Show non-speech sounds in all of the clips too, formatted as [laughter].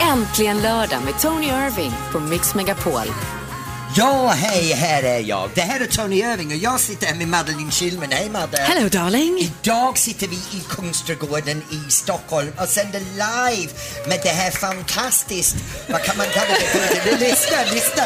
Äntligen lördag med Tony Irving på Mix Megapol. Ja, hej, här är jag. Det här är Tony Irving och jag sitter här med Madeleine Kilman. Hej Madde! Hello darling! Idag sitter vi i Kungsträdgården i Stockholm och sänder live med det här fantastiskt, vad kan man kalla det [laughs] för? Lyssna, lyssna!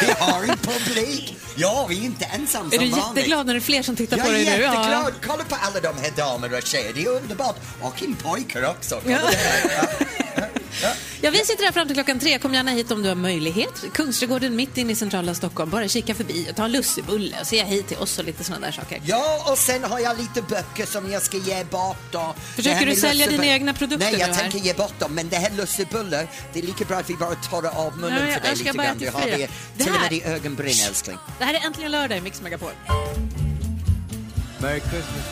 Vi har en publik! Ja, vi är inte ensamma Är som du vanligt. jätteglad när det är fler som tittar på jag är dig nu? jätteglad. Kolla på alla de här damer och tjejer, det är underbart. Och en pojke också. Kolla Ja. det här. Ja. Ja, vi sitter här fram till klockan tre. Kom gärna hit om du har möjlighet. Kungsträdgården mitt inne i centrala Stockholm. Bara kika förbi och ta en lussebulle och säga hej till oss och lite sådana där saker. Ja, och sen har jag lite böcker som jag ska ge bort. Och Försöker det här du med sälja lussebull- dina egna produkter Nej, jag nu här? tänker ge bort dem. Men det här lussebullar, det är lika bra att vi bara torrar av munnen Ja, jag för dig önskar lite bara grann. att Du det har friar. det Det till och här- med i ögonbryn, älskling. Det här är Äntligen lördag i Mix Megapol. Merry Christmas.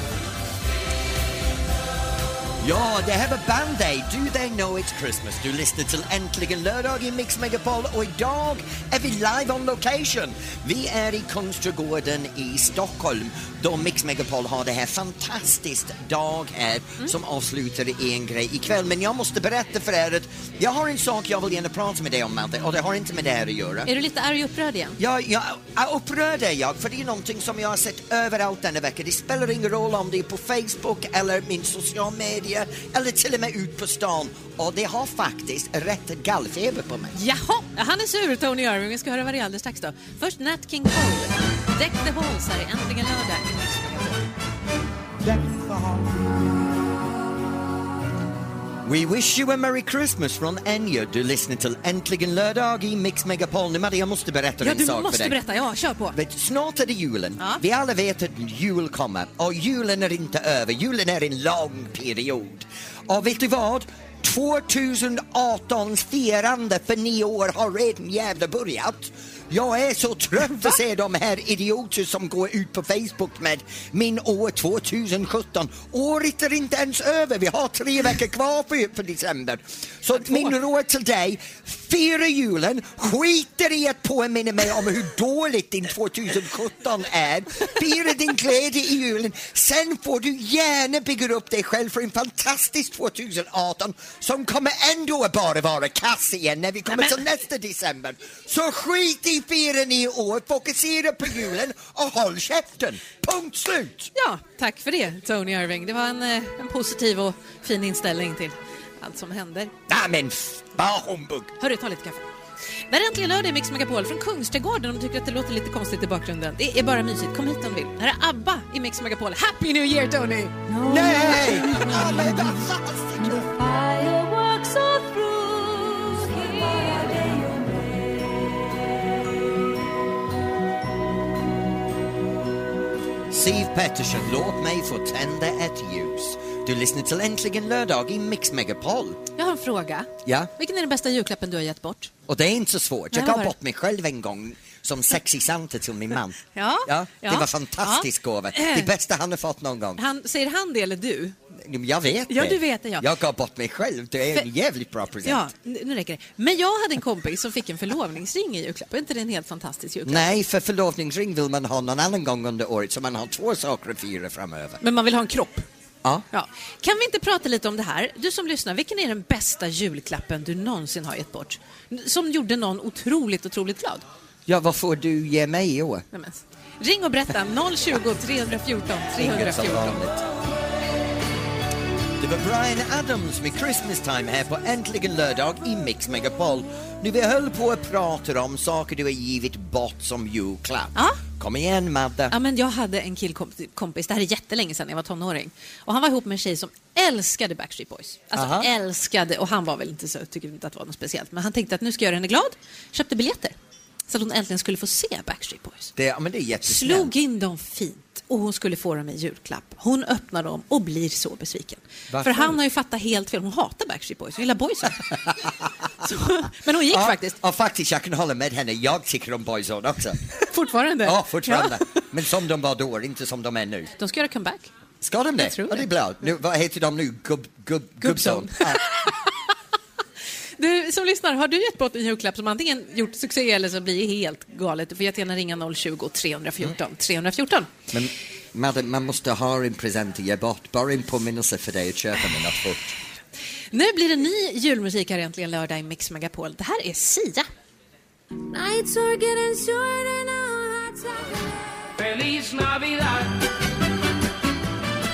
Ja, det här var Band Aid, Do They Know It's Christmas. Du lyssnar till Äntligen lördag i Mix Megapol och idag är vi live on location. Vi är i Kungsträdgården i Stockholm då Mix Megapol har det här fantastiskt dag här som avslutar i en grej ikväll. Men jag måste berätta för er att jag har en sak jag vill gärna prata med dig om, Madde, och det har inte med det här att göra. Är du lite arg och upprörd igen? Ja, jag jag upprörd är jag, för det är någonting som jag har sett överallt denna vecka. Det spelar ingen roll om det är på Facebook eller min social media eller till och med ut på stan. Och det har faktiskt rätt gallfeber på mig. Jaha, han är sur Tony Irving. Vi ska höra vad det är alldeles strax då. Först Nat King Cole. Deck the halls här i Äntligen lördag i Mix Megapol. We wish you a merry Christmas från Enya. Du lyssnar till Äntligen lördag i Mix Megapol. Nu Madde, jag måste berätta Ja, en du sak för måste dig. berätta. Ja, kör på. Vet, snart är det julen. Ja. Vi alla vet att jul kommer och julen är inte över. Julen är en lång period. Och vet du vad? 2018s firande för nio år har redan jävla börjat. Jag är så trött att se de här idioter som går ut på Facebook med min år 2017. Året är inte ens över, vi har tre veckor kvar för, för december. Så min råd till dig, fira julen, skiter i att påminna mig om hur dåligt din 2017 är. Fira din glädje i julen, sen får du gärna bygga upp dig själv för en fantastisk 2018 som kommer ändå bara vara kass igen när vi kommer till nästa december. Så skit i firan i år, fokusera på julen och håll käften. Punkt slut! Ja, tack för det Tony Irving. Det var en, eh, en positiv och fin inställning till allt som händer. Nej men, f- bara humbug. Hörru, ta lite kaffe. Det här är Äntligen lördag i Mix Megapol från Kungsträdgården om du tycker att det låter lite konstigt i bakgrunden. Det är bara mysigt. Kom hit om du vill. Här är ABBA i Mix Megapol. Happy New Year Tony! Nej! Ja, men vad fasiken! Siv Pettersson, låt mig få tända ett ljus. Du lyssnar till Äntligen lördag i Mix Megapol. Jag har en fråga. Ja. Vilken är den bästa julklappen du har gett bort? Och det är inte så svårt. Nej, Jag vad gav var det? bort mig själv en gång som sexig Santa till min man. Ja, det ja, var fantastisk ja. gåva. Det bästa han har fått någon gång. Han, säger han det eller du? Jag vet Ja, det. du vet det, ja. Jag gav bort mig själv. Det är en För- jävligt bra present. Ja, nu nu räcker det. Men jag hade en kompis som fick en förlovningsring i julklapp. Är inte det en helt fantastisk julklapp? Nej, för förlovningsring vill man ha någon annan gång under året så man har två saker att fira framöver. Men man vill ha en kropp. Ja. Ja. Kan vi inte prata lite om det här? Du som lyssnar, vilken är den bästa julklappen du någonsin har gett bort? N- Som gjorde någon otroligt, otroligt glad? ja, vad får du ge mig i år? Nej, men. Ring och berätta, 020 314 314. Det var Brian Adams med Christmas Time här på Äntligen lördag i Mix Megapol. Nu vi höll på att prata om saker du har givit bort som julklapp. Ja. Kom igen Madde. Ja, men jag hade en killkompis, det här är jättelänge sedan jag var tonåring. Och han var ihop med en tjej som älskade Backstreet Boys. Alltså Aha. älskade, och han var väl inte så, tycker inte att det var något speciellt. Men han tänkte att nu ska jag göra henne glad. Köpte biljetter. Så att hon äntligen skulle få se Backstreet Boys. Det, ja, men det är jättesnällt. Slog in dem fint och hon skulle få dem i julklapp. Hon öppnar dem och blir så besviken. Varför? För han har ju fattat helt fel. Hon hatar Backstreet Boys, hon [laughs] gillar boysen. så, men hon gick ja, faktiskt, Ja, faktiskt. Jag kan hålla med henne. Jag tycker om Boyzone också. fortfarande. Ja, fortfarande. [laughs] Ja. Men som de var då, inte som de är nu. De ska göra comeback. Ska de det? tror ja, det det. är bra. Nu, vad heter de nu? Gubb, gubb, Gubbzone. gubbzone? Ja. Du som lyssnar, har du gett bort en julklapp som antingen gjort succé eller så blir det helt galet? Du får jättegärna ringa 020-314 314. [laughs] Men Madde, man måste ha en present att ge bort. Bara en påminnelse för dig att köpa med något fort. Nu blir det ny julmusik här äntligen lördag i Mix Megapol. Det här är Sia. Nights are getting shorter now. Hot chocolate. Feliz Navidad.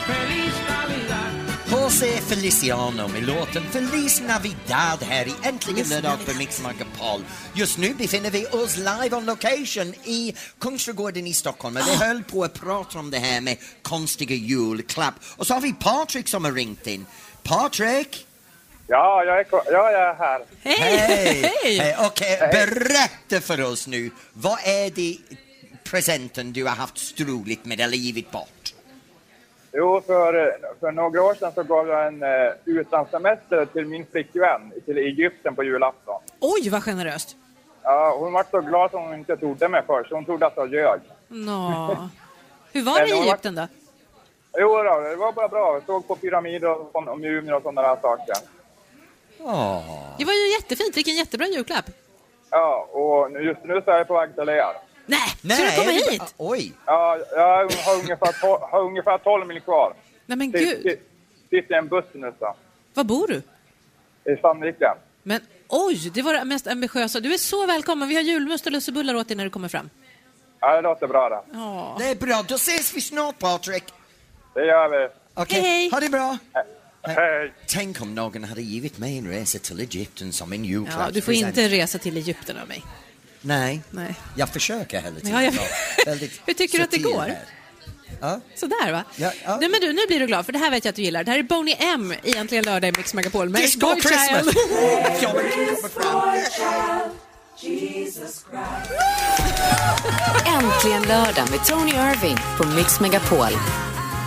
Feliz Navidad. José Feliciano med låten Feliz Navidad här i Äntligen lördag på Mix Megapol. Just nu befinner vi oss live on location i Kungsträdgården i Stockholm. Och Vi höll på att prata om det här med konstiga julklapp. Och så har vi Patrik som har ringt in. Patrik! Ja, jag är, ko- ja, jag är här. Hej! Hej! Okej, berätta för oss nu. Vad är det presenten du har haft struligt med eller givit bort? Jo, för, för några år sedan så gav jag en eh, utlandssemester till min flickvän till Egypten på julafton. Oj, vad generöst. Ja, hon var så glad som hon inte trodde mig först. Hon trodde att jag ljög. Nå. Hur var det i Men det var- Egypten då? Jo, då, det var bara bra. Vi såg på pyramider och, sån- och mumier och sådana där saker. Åh. Det var ju jättefint. Vilken jättebra julklapp. Ja, och nu- just nu så är jag på väg till er. Nej, ska du komma är det- hit? Oj! Ja, jag har ungefär, to- har ungefär 12 mil kvar. Nej men Sitt- gud, sitt- Sitter i en buss nu så. var bor du? I Sandviken. Men oj, det var det mest ambitiösa. Du är så välkommen. Vi har julmust och lussebullar åt dig när du kommer fram. Ja, det låter bra det. Ja. Det är bra, då ses vi snart Patrik. Det gör vi. Okej, Hej, hej. ha det bra. Hej! Tänk om någon hade givit mig en resa till Egypten som en Ja, julklappspresent. du får inte resa till Egypten av mig. Nej, Nej. jag försöker hela tiden. Ja, jag- vara väldigt [laughs] Hur tycker du att det satir går? här. Ja. Sådär va? Ja, ja. Nej, men du, nu blir du glad för det här vet jag att du gillar. Det här är Boney M egentligen lördag i Mix Megapol. med Disco Boy Christmas! Child. Ja, men det kommer [laughs] fram. Äntligen lördag med Tony Irving på Mix Megapol.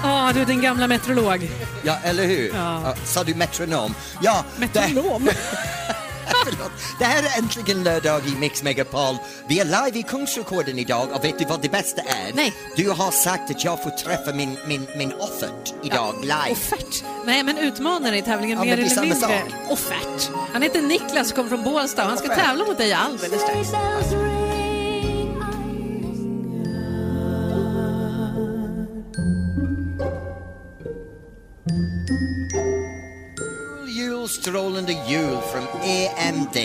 Ja, du är din gamla meteorolog. Ja, eller hur? Ja. Ja. Sa du metronom? Ja, det, Meteorolog? [laughs] Förlåt. Det här är äntligen lördag i Mix Megapol. Vi är live i Kungsrekorden idag och vet du vad det bästa är? Nej. Du har sagt att jag får träffa min, min, min offert idag live. Offert? [laughs] Nej, men utmanare i tävlingen Ja, mer men det är eller samma mindre. sak. Offert. Han heter Niklas och kommer från Bålsta och han ska Offert. tävla mot dig alldeles strax. Bells ring on Jul, strålande jul från EMD.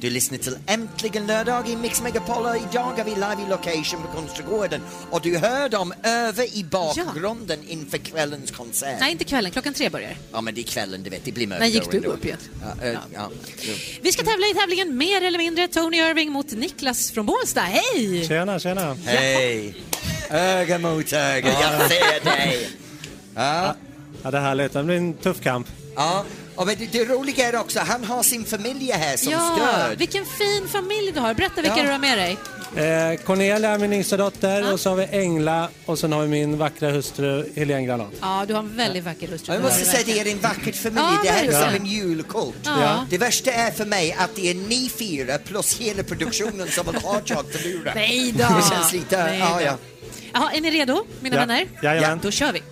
Du lyssnar till Äntligen lördag i Mix Megapol och idag är vi live i location på Kungsträdgården och du hör dem över i bakgrunden inför kvällens konsert. Nej, inte kvällen. Klockan tre börjar Ja men det är kvällen du vet, det blir mörkt. När gick då du ändå. upp igen? Ja, eh, ja. jo. Vi ska tävla i tävlingen Mer eller mindre Tony Irving mot Niklas från Bålsta. Hej! Tjena, tjena. Hej! Öga mot öga, jag ser dig! Ja, Ja, det här lät, det blir en tuff kamp. ja. Och men det, det roliga är också, han har sin familj här som stöd. vilken fin familj du har. Berätta vilka Ja. du har med dig. Eh, Cornelia är min yngsta dotter Ja. och så har vi Engla och sen har vi min vackra hustru Helene Granat. Ja, du har en väldigt vacker hustru. Och Jag måste säga det är en vacker familj, Ja, det här är verkligen. som en julkult. Ja. Det värsta är för mig att det är ni fyra plus hela produktionen som vill [laughs] ha jag förlorar. Nej då! [laughs] Det känns lite, Nej ja då. ja. Jaha, är ni redo, mina Ja. vänner? Jajamän. Då kör vi.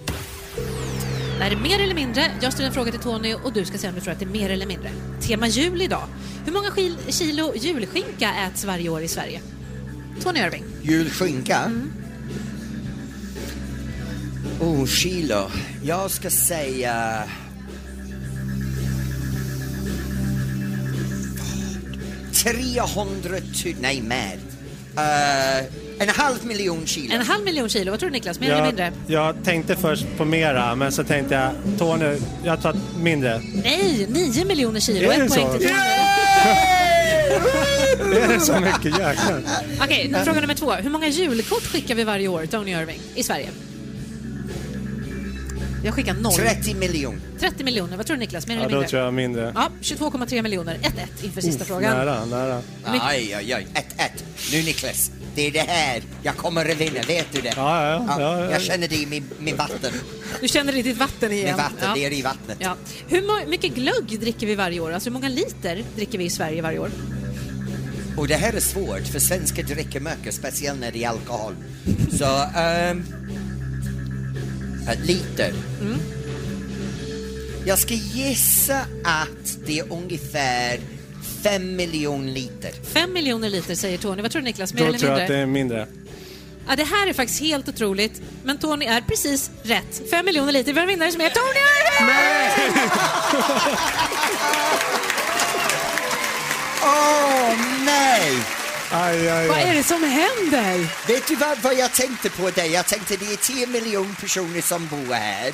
Det här är mer eller mindre. Jag ställer en fråga till Tony och du ska säga om du tror att det är mer eller mindre. Tema jul idag. Hur många skil- kilo julskinka äts varje år i Sverige? Tony Irving. Julskinka. Mm. Oh, kilo. Jag ska säga... Fan. 300 000, nej mer. Eh, en halv miljon kilo. [laughs] En halv miljon kilo. Vad tror du Niklas? Mer eller Jag, mindre? jag tänkte först på mera, men så tänkte jag, Tony, jag tar mindre. [laughs] Nej, nio miljoner kilo. Är En det poäng så? till Tony. Är det så mycket? Jäklar. Okej, nu fråga nummer två. Hur många julkort skickar vi varje år, Tony Irving, i Sverige? Jag skickar noll. 30 miljoner. 30 miljoner. Vad tror du Niklas? Mer Ja, eller då mindre? tror jag mindre. Ja, 22,3 miljoner. 1-1 inför sista frågan. Nära, nära. Aj, aj, aj. Ett, ett. Nu Niklas, det är det här. Jag kommer att vinna, vet du det? Ja, ja, ja, ja. Jag känner det i min, min vatten. Du känner det i ditt vatten igen. Med vatten, ja. det är i vattnet. Ja. Hur mo- mycket glögg dricker vi varje år? Alltså hur många liter dricker vi i Sverige varje år? Och det här är svårt för svenskar dricker mycket, speciellt när det är alkohol. Så, ehm... ett liter. Mm. Jag ska gissa att det är ungefär fem miljoner liter. 5 miljoner liter säger Tony. Vad tror du Niklas? Mer Då eller tror jag mindre? att det är mindre. Ja, det här är faktiskt helt otroligt. Men Tony är precis rätt. 5 miljoner liter. Vi har en vinnare som är Tony Irving! Aj, aj, Vad är aj. det som händer? Vet du vad, vad jag tänkte på dig? Jag tänkte det är 10 miljoner personer som bor här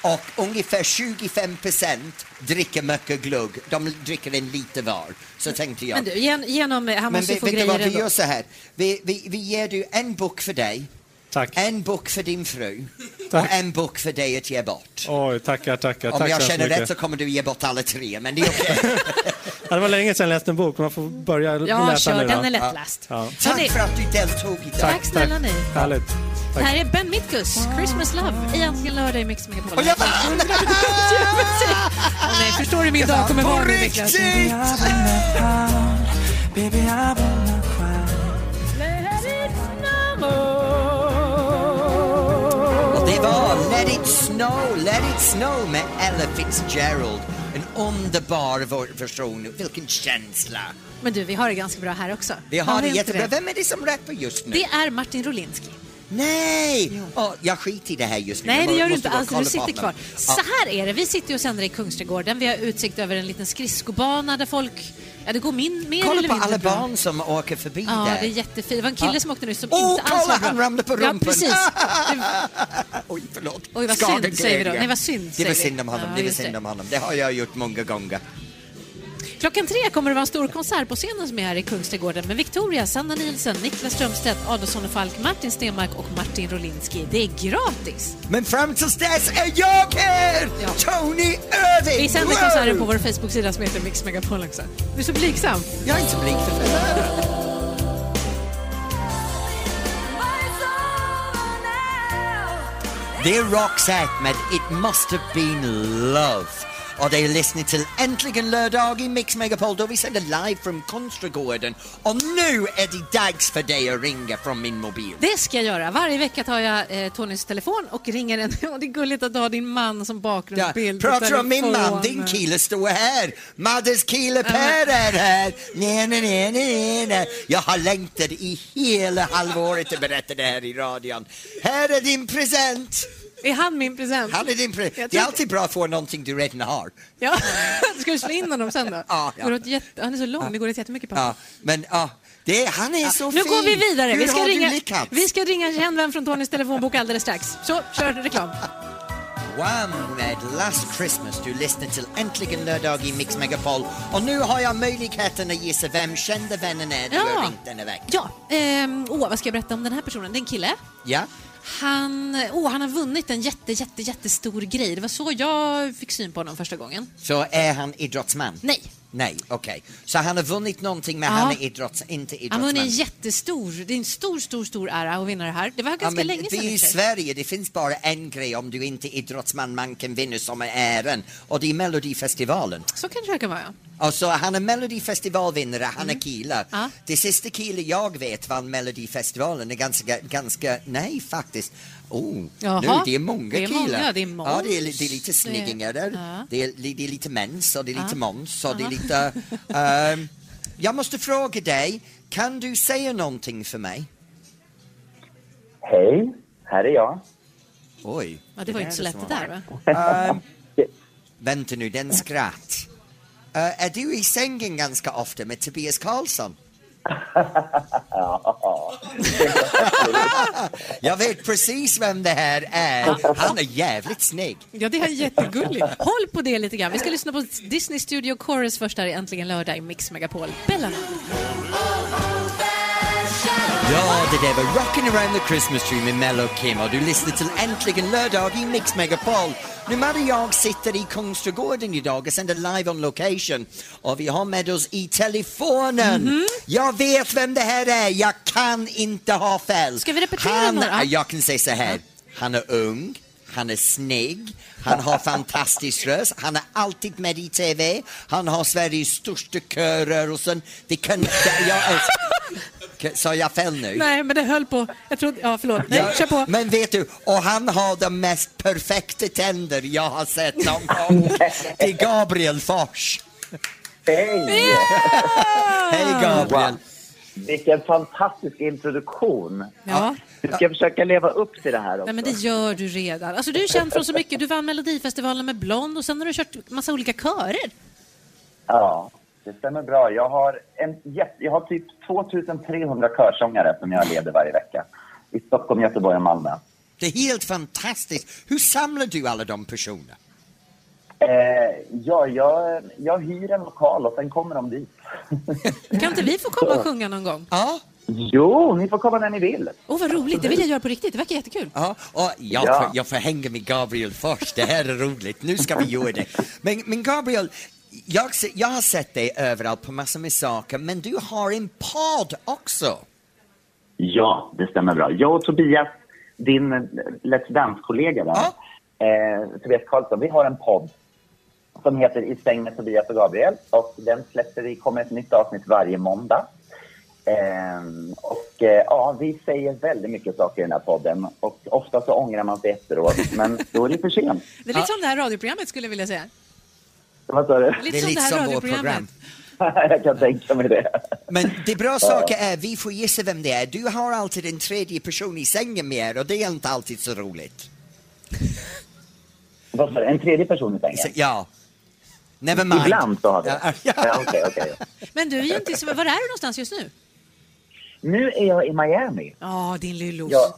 och ungefär 25 procent dricker mycket glögg. De dricker en liter var. Så tänkte jag. Men du, gen, genom... Han Men måste vet, få vet du vad, grejer vi ändå. gör så här. Vi, vi, vi ger dig en bok för dig, Tack. en bok för din fru Tack. och en bok för dig att ge bort. Oj, tackar, tackar. Om tack jag så känner mycket. rätt så kommer du ge bort alla tre, men det är [laughs] okej. Ja, det var länge sedan jag läste en bok, man får börja Ja, läsa kör. nu då. Den är lättläst. Ja. Hörni, Tack för att du deltog idag. Tack snälla ni. Härligt. Det här är Ben Mitkus, Christmas Love, i Äntligen lördag i Mix Megapol. Och jag vann! Åh, nej, förstår du min dag kommer vara På nu Niklas? riktigt! Och det var Let it snow, let it snow med Ella Fitzgerald. En underbar ver- version. Vilken känsla! Men du, vi har det ganska bra här också. Vi har det inte jättebra. Vem är det som rappar just nu? Det är Martin Rolinski. Nej! Åh, jag skiter i det här just nu. Nej, Jag det bara- gör du måste inte bara alls. kolla Du på sitter honom. kvar. Så Ja. här är det. Vi sitter ju och sänder i Kungsträdgården. Vi har utsikt över en liten skridskobana där folk... Ja, det går min, mer eller Kolla på mindre alla bra. barn som åker förbi Ja, där. det är jättefint. Det var en kille som åkte nu som Åh, inte alls kolla, var bra. han ramlade på rumpan. Ja, precis. [laughs] Oj, förlåt. Oj, vad Skadeglädje. synd, säger vi då. Nej, vad synd, Det säger var vi. synd om honom. Ja, det var just synd det. om honom. Det har jag gjort många gånger. Klockan tre kommer det vara en stor konsert på scenen som är här i Kungsträdgården med Victoria, Sanna Nielsen, Niklas Strömstedt, Adolfsson och Falk, Martin Stenmark och Martin Rolinski. Det är gratis. Men fram tills dess är jag här! Ja. Tony Irving! Vi sänder Wow! konserten på vår Facebook-sida som heter Mix Megapol också. Du är så blygsam. Jag är inte blyg för fan. Det är Roxette med It Must Have Been Love. Och det är lyssnar till Äntligen lördag i Mix Megapol då vi sänder live från Konstragården. Och nu är det dags för dig att ringa från min mobil. Det ska jag göra. Varje vecka tar jag eh, Tonys telefon och ringer en. [laughs] Och det är gulligt att ha din man som Ja, bakgrundsbild. på pratar om min man, din telefonen. kille står här. Maddes kille Per är här. Nej, nej, nej, nej, nej. Jag har längtat i hela halvåret att berätta det här i radion. Här är din present. Är han min present? Han är din present. Jag Det är tror- alltid bra att få någonting du redan har. Ja. [laughs] Ska du slå in honom sen då? Ja, ja. Går åt jätte... Han är så lång, det går åt jättemycket papper. Ja, men ja, det är, han är så Nu fin. går vi vidare. Hur Vi ska, har ringa, du lyckats? vi ska ringa en känd vän från Tonys telefonbok alldeles strax. Så, [laughs] kör reklam. Wham med Last Christmas. Du lyssnar till Äntligen lördag i Mix Megapol. Och nu har jag möjligheten att gissa vem kända vännen är du har Ja. ringt denna vecka. Ja, ehm, åh, vad ska jag berätta om den här personen? Det är en kille. Ja. Han, åh, han har vunnit en jätte, jätte, jättestor grej. Det var så jag fick syn på honom första gången. Så är han idrottsman? Nej. Nej, okej. Så han har vunnit någonting men Ja. han är idrotts, inte Han idrottsman? vann en jättestor, det är en stor, stor, stor ära att vinna det här. Det var ganska Ja, men länge sedan. vi i i och för sig. Sverige, det finns bara en grej om du inte är idrottsman man kan vinna som är äran och det är Melodifestivalen. Så kanske det kan vara, ja. Och så Alltså, han är Melodifestivalvinnare, han är kille. Mm. Ja. Det sista kille jag vet vann Melodifestivalen är ganska, ganska, nej faktiskt. Oh, nu Jaha. det är många Det är killar. många, det är Ja, det är, li- Måns, det är lite det är- sniggingar där. Ja. Det, är, li- det är lite mens och det är lite Måns och det är lite... [laughs] ehm, jag måste fråga dig, kan du säga någonting för mig? Hej, här är jag. Oj. ja det var ju inte så lätt det där, va? Ehm, vänta nu, den skratt. Eh, är du i sängen ganska ofta med Tobias Karlsson? [laughs] Jag vet precis vem det här är. Han är jävligt snygg. Ja, det här är jättegulligt. Håll på det lite grann. Vi ska lyssna på Disney Studio Chorus först här i Äntligen lördag i Mix Megapol. Bella. Ja, det där var Rockin' around the Christmas tree med Mel och Kim och du lyssnar till Äntligen lördag i Mix Megapol. Nu Madde och jag sitter i Kungsträdgården idag och sänder live on location och vi har med oss i telefonen. Mhm. Jag vet vem det här är, jag kan inte ha fel. Ska vi repetera Han, några? Jag kan säga så här, han är ung. Han är snygg, han [laughs] har fantastisk röst, han är alltid med i TV, han har Sveriges största körrörelsen. Det kan... det- Jag [laughs] älskar... Sa jag fel nu? Nej, men det höll på. Jag trodde, ja förlåt. Nej, Ja, kör på. Men vet du, och han har de mest perfekta tänder jag har sett någon gång. Det är Gabriel Fors. Hej! Ah! Hej Gabriel. Wow. Vilken fantastisk introduktion. Ja. Du ska försöka leva upp till det här också. Nej, men det gör du redan. Alltså, du är känd från så mycket. Du vann Melodifestivalen med Blond och sen har du kört massa olika körer. Ja, Det stämmer bra. Jag har, en, jätte- jag har typ 2300 körsångare som jag leder varje vecka. I Stockholm, Göteborg och Malmö. Det är helt fantastiskt. Hur samlar du alla de personerna? Eh, ja, jag, jag hyr en lokal och sen kommer de [laughs] dit. Kan inte vi få komma och sjunga någon gång? Ja, jo, ni får komma när ni vill. Åh, vad roligt. Det vill jag göra på riktigt. Det verkar jättekul. ja, och jag, Ja. Får, jag får hänga med Gabriel först. Det här är roligt. Nu ska vi göra det. Men, men Gabriel, jag, se- jag har sett dig överallt på massor med saker, men du har en podd också. Ja, det stämmer bra. Jag och Tobias, din eh, Let's Dance-kollega där, eh, Tobias Karlsson, vi har en podd som heter I säng med Tobias och Gabriel och den släpper vi, kommer ett nytt avsnitt varje måndag. Ehm, och eh, ja, vi säger väldigt mycket saker i den här podden och ofta så ångrar man sig efteråt, men då är det för sent. Det är lite som det här radioprogrammet skulle jag vilja säga. Vad sa du? Det Lite är som lite det här som vårt radioprogrammet. program. [laughs] Jag kan tänka mig det. Men det bra saker är, vi får gissa vem det är. Du har alltid en tredje person i sängen med er och det är inte alltid så roligt. Vad sa du? En tredje person i Så, sängen? ja. Never mind. Ibland så har vi det. Ja, ja. Ja, okej, okej. Men du är ju inte i Sverige. Var är du någonstans just nu? Nu är jag i Miami. Ja, din lillos. Jag,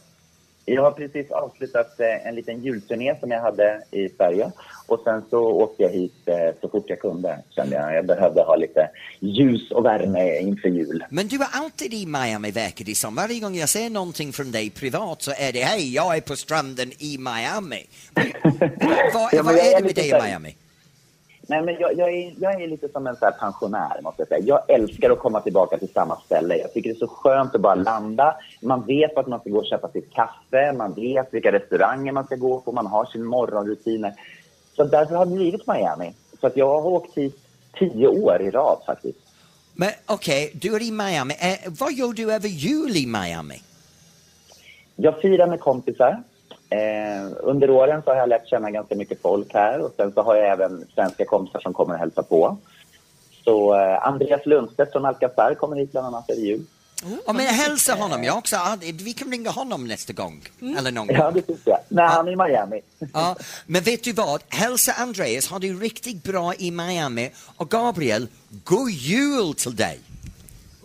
jag har precis avslutat eh, en liten julturné som jag hade i Sverige. Och sen så åkte jag hit eh, så fort jag kunde, kände jag. Jag behövde ha lite ljus och värme inför jul. Men du är alltid i Miami verkar det som. Varje gång jag ser någonting från dig privat så är det hej, jag är på stranden i [laughs] Miami. vad Ja, men vad jag är är det med lite dig i så här- Miami? Nej, men jag, jag, är, jag är lite som en så här pensionär, måste jag säga. Jag älskar att komma tillbaka till samma ställe. Jag tycker det är så skönt att bara landa. Man vet vart man ska gå och köpa sitt kaffe. Man vet vilka restauranger man ska gå på. Man har sin morgonrutiner. Så därför har det blivit Miami. Så att jag har åkt hit tio år i rad faktiskt. Men okej, du är i Miami. Eh, vad gör du över jul i Miami? Jag firar med kompisar. Eh, under åren så har jag lärt känna ganska mycket folk här och sen så har jag även svenska kompisar som kommer och hälsar på. Så eh, Andreas Lundstedt från Alcazar kommer hit bland annat över jul. Ja, Mm. men hälsa honom, jag också. Ja, Vi kan ringa honom nästa gång. Eller Mm. någon gång. Mm. Ja, det tycker jag. Nej, han är i Miami. Ja, men vet du vad? Hälsa Andreas, har du riktigt bra i Miami. Och Gabriel, god jul till dig!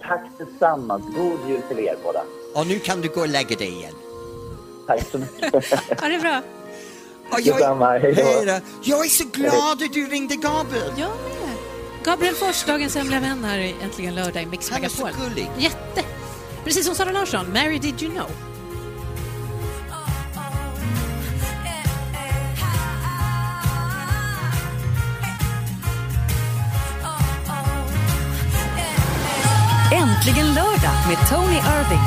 Tack tillsammans. God jul till er båda. Och nu kan du gå och lägga dig igen. Tack så mycket. Ja, det är bra. Och Detsamma, hej då. Hej då. Jag är så glad att du ringde Gabriel! Jag med. Gabriel Fors, dagens hemliga vän här i Äntligen lördag i Mix Han är så Megapol. gullig. Jätte. Precis som Sara Larsson, Mary Did You Know. Äntligen lördag med Tony Irving.